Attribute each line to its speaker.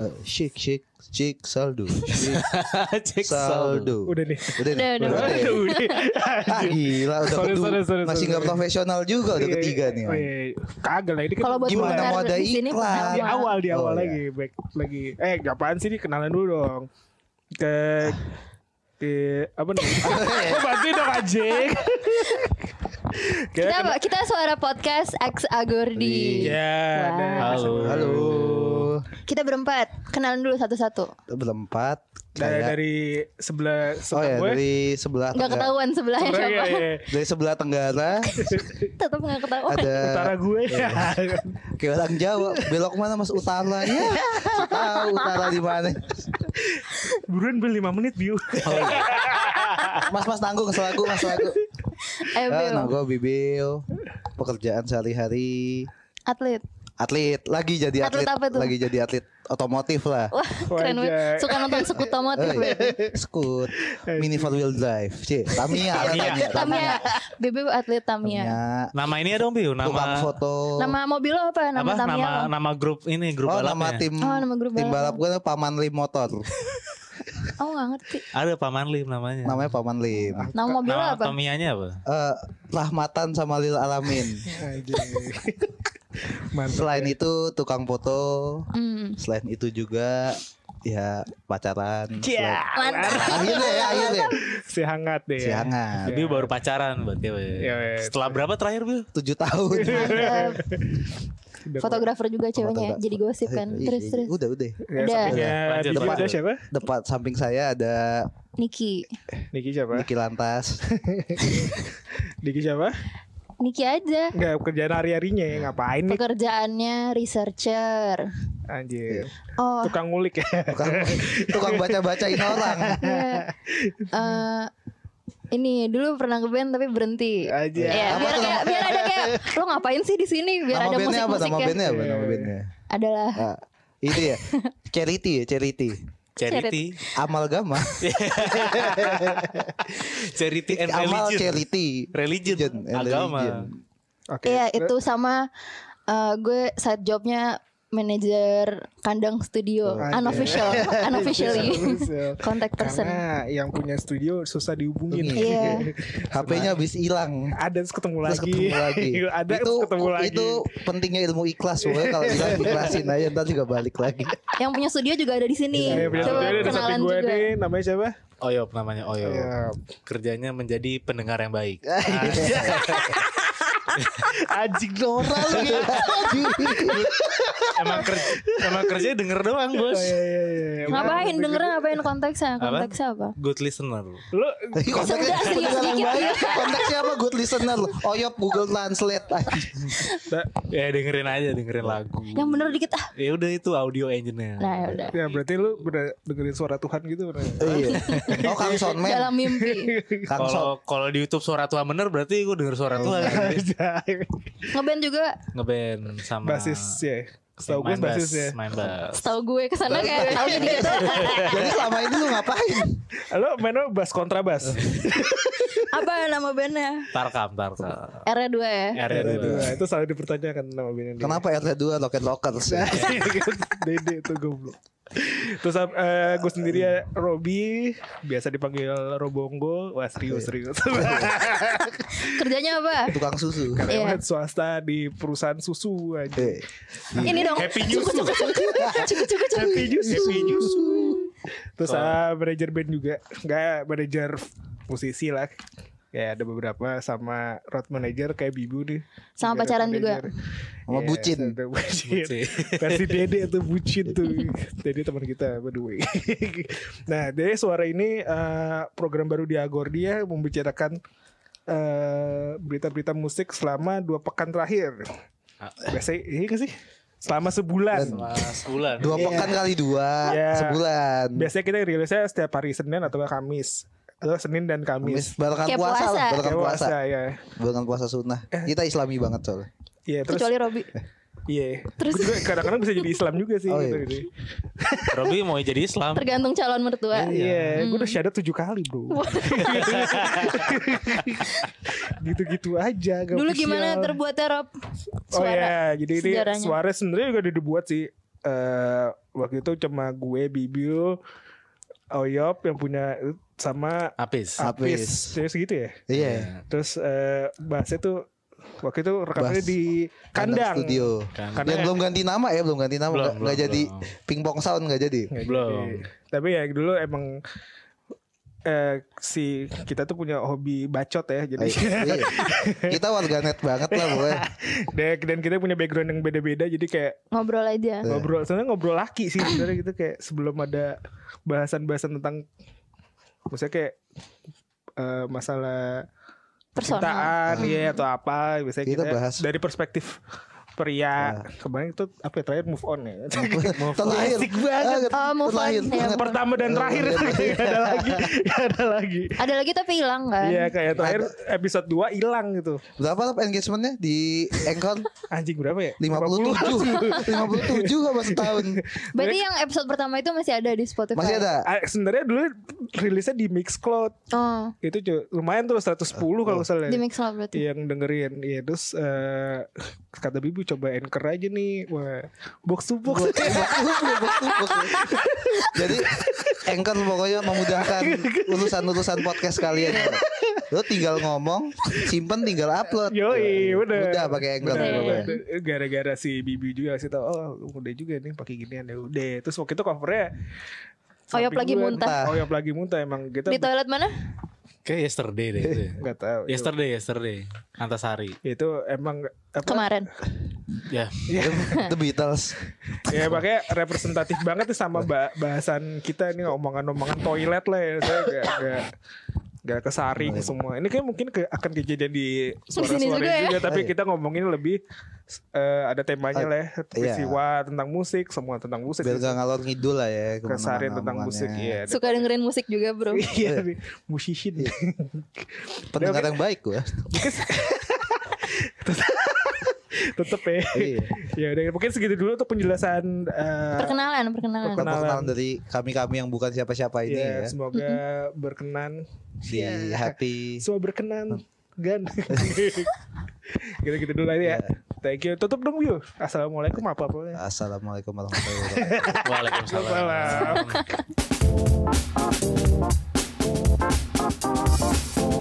Speaker 1: Eh, shake shake shake saldo. Shake
Speaker 2: Cek saldo.
Speaker 1: saldo.
Speaker 3: Udah deh.
Speaker 1: Udah,
Speaker 4: Udah, udah.
Speaker 1: Udah deh.
Speaker 3: Aduh, udah.
Speaker 1: Ah, gila udah
Speaker 3: Sorry,
Speaker 1: kedua.
Speaker 3: sorry, sorry,
Speaker 1: Masih
Speaker 3: sorry.
Speaker 1: nggak profesional juga udah
Speaker 3: Iya,
Speaker 1: ketiga
Speaker 3: iya.
Speaker 1: nih.
Speaker 3: Oh, iya, iya. Kagak lah ini kan
Speaker 4: Kalau buat
Speaker 1: Gimana
Speaker 4: pendengar
Speaker 1: mau ada
Speaker 4: di sini
Speaker 1: iklan?
Speaker 4: pertama.
Speaker 3: di awal di
Speaker 1: Oh,
Speaker 3: awal
Speaker 1: iya.
Speaker 3: lagi back lagi. Eh, apaan sih nih kenalan dulu dong. Ke ke apa nih? Bantuin dong anjing. Kita
Speaker 4: Kita,
Speaker 3: kena-
Speaker 4: kita suara podcast X Agordi.
Speaker 1: Iya.
Speaker 3: Ya,
Speaker 4: Wah.
Speaker 3: nah.
Speaker 2: Halo.
Speaker 1: Halo.
Speaker 4: Kita berempat. Kenalan dulu satu-satu.
Speaker 1: Berempat.
Speaker 3: Dari,
Speaker 1: kayak-
Speaker 3: dari sebelah
Speaker 1: oh
Speaker 3: sebelah
Speaker 1: ya
Speaker 3: gue.
Speaker 1: dari sebelah
Speaker 4: Gak
Speaker 1: tenggara,
Speaker 4: ketahuan sebelahnya
Speaker 3: Sebelah-
Speaker 4: siapa.
Speaker 3: iya, iya.
Speaker 1: dari sebelah tenggara
Speaker 4: Tetap gak ketahuan.
Speaker 1: ada
Speaker 3: Utara gue ya.
Speaker 1: kayak orang Jawa belok mana mas utara ya tahu utara di mana
Speaker 3: Buruan beli 5 menit view.
Speaker 1: mas mas tanggung selaku mas selaku
Speaker 4: Ayo,
Speaker 1: Ah,
Speaker 4: Bill.
Speaker 1: nah gue bibil pekerjaan sehari-hari
Speaker 4: Atlet.
Speaker 1: atlet lagi jadi atlet,
Speaker 4: Atlet apa tuh?
Speaker 1: lagi jadi atlet otomotif lah
Speaker 4: Wah,
Speaker 3: Wajah.
Speaker 4: keren banget. Suka nonton ya, skutomotif.
Speaker 1: Eh, skut mini four wheel drive cie
Speaker 4: Iya,
Speaker 1: Tamiya lah, Tamiya Tamiya
Speaker 4: Tamia. BB atlet Tamia.
Speaker 2: Nama ini ya dong Biu, nama
Speaker 1: tukang foto
Speaker 4: Nama mobil lo apa? Nama
Speaker 2: apa?
Speaker 4: Tamia.
Speaker 2: Nama
Speaker 4: lo?
Speaker 2: nama grup ini grup
Speaker 1: oh nama
Speaker 2: balapnya.
Speaker 1: tim
Speaker 4: Oh, nama grup Iya.
Speaker 1: tim balap
Speaker 4: balap.
Speaker 1: gue paman lim motor
Speaker 4: Oh, gak ngerti.
Speaker 2: Ada Paman Lim namanya.
Speaker 1: namanya paman lim
Speaker 4: Nama mobil lo
Speaker 2: Nama
Speaker 4: apa?
Speaker 2: Tamianya apa?
Speaker 1: Eh, rahmatan sama lil alamin
Speaker 4: Iya.
Speaker 3: Anjing. Mantap.
Speaker 1: selain itu tukang foto
Speaker 4: Hmm.
Speaker 1: selain itu juga ya pacaran
Speaker 3: Cia.
Speaker 4: Mantap.
Speaker 1: Selain- akhirnya ya akhirnya
Speaker 3: Si hangat
Speaker 4: Iya.
Speaker 3: deh.
Speaker 1: si
Speaker 3: ya.
Speaker 1: hangat
Speaker 2: Biu baru pacaran berarti. ya, Biu.
Speaker 3: Ya, ya.
Speaker 2: Setelah berapa terakhir Biu?
Speaker 1: tujuh tahun
Speaker 4: Mantap.
Speaker 3: Udah,
Speaker 4: Fotografer juga ceweknya.
Speaker 1: Fotografer.
Speaker 4: Jadi gosip kan.
Speaker 1: Ih,
Speaker 4: Terus,
Speaker 1: ih,
Speaker 4: terus.
Speaker 1: Iya, udah udah
Speaker 3: Ya,
Speaker 4: Ada.
Speaker 3: sampingnya
Speaker 2: Lanjut,
Speaker 3: Diki
Speaker 2: lanjut.
Speaker 3: ada siapa?
Speaker 1: depan samping saya ada
Speaker 4: Niki.
Speaker 3: Niki siapa?
Speaker 1: Niki Lantas
Speaker 3: Diki siapa?
Speaker 4: Niki aja.
Speaker 3: Enggak kerjaan hari-harinya ya ngapain nih
Speaker 4: Pekerjaannya researcher.
Speaker 1: Iya.
Speaker 3: anjir.
Speaker 4: Oh,
Speaker 3: Tukang ngulik ya.
Speaker 1: tukang, tukang baca-bacain orang
Speaker 4: Iya. Eh, ini dulu pernah ke band tapi berhenti.
Speaker 3: Aja.
Speaker 4: Iya,
Speaker 1: Apa
Speaker 4: biar
Speaker 1: tuh
Speaker 4: kayak biar ada kayak lo ngapain sih di sini
Speaker 1: nama
Speaker 4: biar ada ya.
Speaker 1: bandnya apa nama
Speaker 4: musik-musiknya.
Speaker 1: bandnya
Speaker 3: Iya,
Speaker 1: apa nama bandnya
Speaker 4: Adalah
Speaker 1: Ah, itu ya charity ya charity
Speaker 2: Charity.
Speaker 1: amalgama
Speaker 3: Iya.
Speaker 2: Charity and
Speaker 1: amal
Speaker 2: religion.
Speaker 1: charity
Speaker 2: Religion,
Speaker 1: and
Speaker 2: agama.
Speaker 1: religion.
Speaker 3: Oke.
Speaker 4: iya itu sama eh, gue side jobnya manajer kandang studio
Speaker 3: Oke.
Speaker 4: unofficial
Speaker 1: Iya,
Speaker 4: unofficially
Speaker 3: Official.
Speaker 4: contact person.
Speaker 3: iya. Karena yang punya studio susah dihubungin.
Speaker 4: Iya.
Speaker 1: HP-nya habis hilang
Speaker 3: ada terus ketemu
Speaker 1: terus
Speaker 3: lagi.
Speaker 1: ketemu lagi
Speaker 3: ada
Speaker 1: itu
Speaker 3: terus ketemu lagi.
Speaker 1: itu pentingnya ilmu ikhlas pokoknya kalau bisa ikhlasin aja ntar juga balik lagi
Speaker 4: Yang punya studio juga ada di sini.
Speaker 3: Saya Iya, punya
Speaker 4: Iya, Coba
Speaker 3: studio di samping
Speaker 4: kenalan
Speaker 3: gue
Speaker 4: juga.
Speaker 3: nih namanya siapa?
Speaker 2: Oyop namanya Oyop.
Speaker 3: Iya.
Speaker 2: Kerjanya menjadi pendengar yang baik.
Speaker 3: Anjing dong.
Speaker 2: emang kerja emang kerja denger doang,
Speaker 1: Ya,
Speaker 2: Bos.
Speaker 3: Iya, iya, iya.
Speaker 4: Ngapain dengerin ngapain konteksnya?
Speaker 2: Apa?
Speaker 4: Konteksnya apa?
Speaker 2: Good listener.
Speaker 3: Lu
Speaker 1: Tapi konteksnya
Speaker 4: Sebenarnya serius
Speaker 1: pendengar yang
Speaker 4: dikit.
Speaker 1: baik. Konteksnya apa good listener loh. Oyop Google Translate. Ah,
Speaker 2: Ya dengerin aja, dengerin lagu.
Speaker 4: Yang bener dikit ah.
Speaker 2: Ya udah itu audio engineer.
Speaker 4: Nah, ya udah.
Speaker 3: ya berarti lu bener dengerin suara Tuhan gitu bener.
Speaker 1: Iya. Oh Kang Sonman.
Speaker 4: Dalam mimpi.
Speaker 1: Kang Son.
Speaker 2: Kalau kalau di YouTube suara Tuhan bener berarti gue denger suara Tuhan.
Speaker 1: Iya.
Speaker 4: Ngeband juga
Speaker 2: Ngeband sama
Speaker 3: Basis ya. Setahu gue
Speaker 2: main bass,
Speaker 3: basis ya.
Speaker 2: Main bass.
Speaker 4: setahu gue kesana kayak tahu jadi gitu.
Speaker 1: Jadi selama ini lu ngapain?
Speaker 3: Lo main apa? bass kontrabas.
Speaker 4: apa nama bandnya
Speaker 2: Tarkam, tarkam.
Speaker 4: R 2 ya
Speaker 2: Area
Speaker 3: Ada
Speaker 2: dua.
Speaker 3: dua. Iya,
Speaker 1: Iya.
Speaker 3: Itu selalu dipertanyakan nama bandnya. dia.
Speaker 1: Kenapa RT2 Rocket Rockers?
Speaker 3: Nah. Dede itu goblok. Terus eh, gue sendiri ya Robi biasa dipanggil Robongo. Wah
Speaker 1: Iya.
Speaker 3: serius serius.
Speaker 4: Iya. kerjanya apa Iya.
Speaker 1: Tukang susu.
Speaker 3: Karyawan swasta di perusahaan susu aja.
Speaker 1: Eh,
Speaker 4: ini dong
Speaker 2: Happy News.
Speaker 4: cukup cukup cukup cukup cukup cukup
Speaker 3: Happy News. Happy News. Terus ah, manajer band juga. Enggak manajer musisi lah. Ya ada beberapa sama road manager kayak Bibu nih.
Speaker 4: Sama
Speaker 3: Juga road
Speaker 4: pacaran juga.
Speaker 3: manager.
Speaker 1: Sama
Speaker 3: Iya,
Speaker 1: bucin.
Speaker 3: sama bucin.
Speaker 2: Bucin.
Speaker 1: Iya.
Speaker 3: Versi Dede tuh bucin tuh. Dede teman kita by the way. nah, Dede suara ini eh, program baru di Agordia membicarakan eh, berita-berita musik selama dua pekan terakhir.
Speaker 2: Ah.
Speaker 3: Biasanya iya nggak sih? Selama sebulan.
Speaker 2: Sama sebulan.
Speaker 1: Dua pekan kali dua
Speaker 3: Iya.
Speaker 1: sebulan.
Speaker 3: Biasanya kita rilisnya setiap hari Senin atau Kamis. Atau Senin dan Kamis.
Speaker 1: Mis barengan
Speaker 4: Kayak
Speaker 1: puasa,
Speaker 4: puasa.
Speaker 1: lah, barengan
Speaker 3: Ya,
Speaker 1: puasa.
Speaker 3: puasa ya.
Speaker 1: Barengan puasa sunnah. Kita islami banget soalnya.
Speaker 3: Iya, terus
Speaker 4: kecuali Robi
Speaker 3: iya.
Speaker 4: Terus-
Speaker 3: Gue kadang-kadang bisa jadi Islam juga sih
Speaker 1: Oh,
Speaker 3: gitu,
Speaker 1: iya.
Speaker 3: gitu.
Speaker 2: Robi mau jadi Islam.
Speaker 4: tergantung calon mertua Hmm.
Speaker 3: Iya, gue udah syahadat tujuh kali bro. Gitu-gitu aja. gak
Speaker 4: dulu
Speaker 3: official.
Speaker 4: gimana terbuatnya Rob
Speaker 3: Oh
Speaker 4: suara
Speaker 3: iya, jadi ini
Speaker 4: sejarahnya.
Speaker 3: suara sebenarnya juga udah dibuat sih. eh, waktu itu cuma gue Bibiu Oyop yang punya sama
Speaker 2: Apis.
Speaker 1: Apis.
Speaker 3: Apis. Jadi segitu ya.
Speaker 1: Ah, Iya.
Speaker 3: Terus eh bahasnya tuh waktu itu rekamannya
Speaker 1: Bass.
Speaker 3: di kandang.
Speaker 1: studio.
Speaker 2: Kan.
Speaker 3: Karena-
Speaker 1: Dan belum ganti nama ya, belum ganti nama. nggak nggak jadi
Speaker 2: belum.
Speaker 1: pingpong sound nggak jadi.
Speaker 3: Nggak
Speaker 2: Belum.
Speaker 3: jadi. Tapi ya dulu emang eh si kita tuh punya hobi bacot ya
Speaker 1: Ay,
Speaker 3: jadi
Speaker 1: iya. Kita warganet banget lah boleh.
Speaker 3: dan- dan kita punya background yang beda-beda jadi kayak
Speaker 4: ngobrol
Speaker 1: Iya.
Speaker 4: aja.
Speaker 3: ngobrol sebenarnya ngobrol laki sih sebenarnya gitu kayak sebelum ada bahasan-bahasan tentang maksudnya kayak eh, masalah
Speaker 4: Personal.
Speaker 3: cintaan ya atau apa biasanya
Speaker 1: Hmm. Kita
Speaker 3: kita,
Speaker 1: bahas. Iya.
Speaker 3: dari perspektif pria kemarin itu apa ya terakhir move on ya
Speaker 1: Terakhir. Ah,
Speaker 3: Basic
Speaker 1: Eh,
Speaker 3: banget.
Speaker 4: Oh, move on,
Speaker 1: Terakhir
Speaker 4: ya.
Speaker 1: banget.
Speaker 3: pertama dan terakhir itu nggak ada lagi nggak ada lagi
Speaker 4: Ada lagi tapi hilang kan?
Speaker 3: Iya kayak terakhir episode 2 hilang gitu
Speaker 1: Berapa lah engagementnya di Anchor?
Speaker 3: Anjing berapa ya?
Speaker 1: 57 57 apa setahun
Speaker 4: Berarti yang episode pertama itu masih ada di Spotify.
Speaker 1: Masih ada
Speaker 3: Ah, Sebenarnya dulu rilisnya di Mixcloud
Speaker 4: Oh,
Speaker 3: Itu cu- lumayan tuh 110 kalau
Speaker 4: di
Speaker 3: misalnya
Speaker 4: mix lah berarti.
Speaker 3: yang dengerin ya terus eh, kata bibu coba anchor aja nih wah box to box
Speaker 1: Box, box, box, box. Jadi Anchor pokoknya memudahkan Urusan-urusan podcast kalian Lo tinggal ngomong Simpen tinggal upload
Speaker 3: Yoi, bener.
Speaker 1: Udah pakai Anchor
Speaker 3: Bener,
Speaker 1: pokoknya.
Speaker 3: bener. Gara-gara si Bibi juga sih tau, oh udah juga nih pakai ginian ya udah. Terus waktu itu covernya
Speaker 4: Oyop
Speaker 3: samping
Speaker 4: lagi
Speaker 3: gua.
Speaker 4: muntah.
Speaker 3: Oyop lagi muntah emang kita
Speaker 4: Di toilet mana?
Speaker 2: Kayak yesterday deh itu. ya.
Speaker 3: nggak tahu.
Speaker 2: yesterday, yesterday. Antasari.
Speaker 3: Itu emang apa?
Speaker 4: Kemarin.
Speaker 2: Ya.
Speaker 3: Iya.
Speaker 1: The Beatles
Speaker 3: Ya makanya representatif banget tuh sama ba- bahasan kita ini omongan-omongan toilet lah ya. Saya gak, gak, gak kesaring semua. Ini kayak mungkin ke- akan kejadian di
Speaker 4: Di sini
Speaker 3: suara-suara
Speaker 4: juga
Speaker 3: juga,
Speaker 4: ya.
Speaker 3: tapi
Speaker 1: Iya. Ah,
Speaker 3: kita ngomongin lebih eh, ada temanya lah, ya. peristiwa tentang musik, semua tentang musik.
Speaker 1: Biar gak ngalor ngidul lah ya kemana-mana
Speaker 3: Kesaring tentang musik,
Speaker 1: omongannya.
Speaker 3: iya.
Speaker 4: Suka dengerin musik juga, Bro.
Speaker 3: Iya, nih, musisi
Speaker 1: Iya.
Speaker 3: nih.
Speaker 1: Pendengar yang baik gue
Speaker 3: Tetep ya.
Speaker 1: Iya.
Speaker 3: ya udah mungkin segitu dulu untuk penjelasan eh,
Speaker 4: Perkenalan, perkenalan.
Speaker 3: Perkenalan.
Speaker 1: Perkenalan dari kami-kami yang bukan siapa-siapa ini
Speaker 3: ya,
Speaker 1: ya
Speaker 3: semoga berkenan
Speaker 1: Di
Speaker 3: Ya.
Speaker 1: hati
Speaker 3: Semua berkenan Gan Gitu-gitu dulu aja ya Thank you Tutup dong Biu Assalamualaikum apa apa
Speaker 1: Assalamualaikum warahmatullahi wabarakatuh
Speaker 2: Waalaikumsalam.
Speaker 3: Salam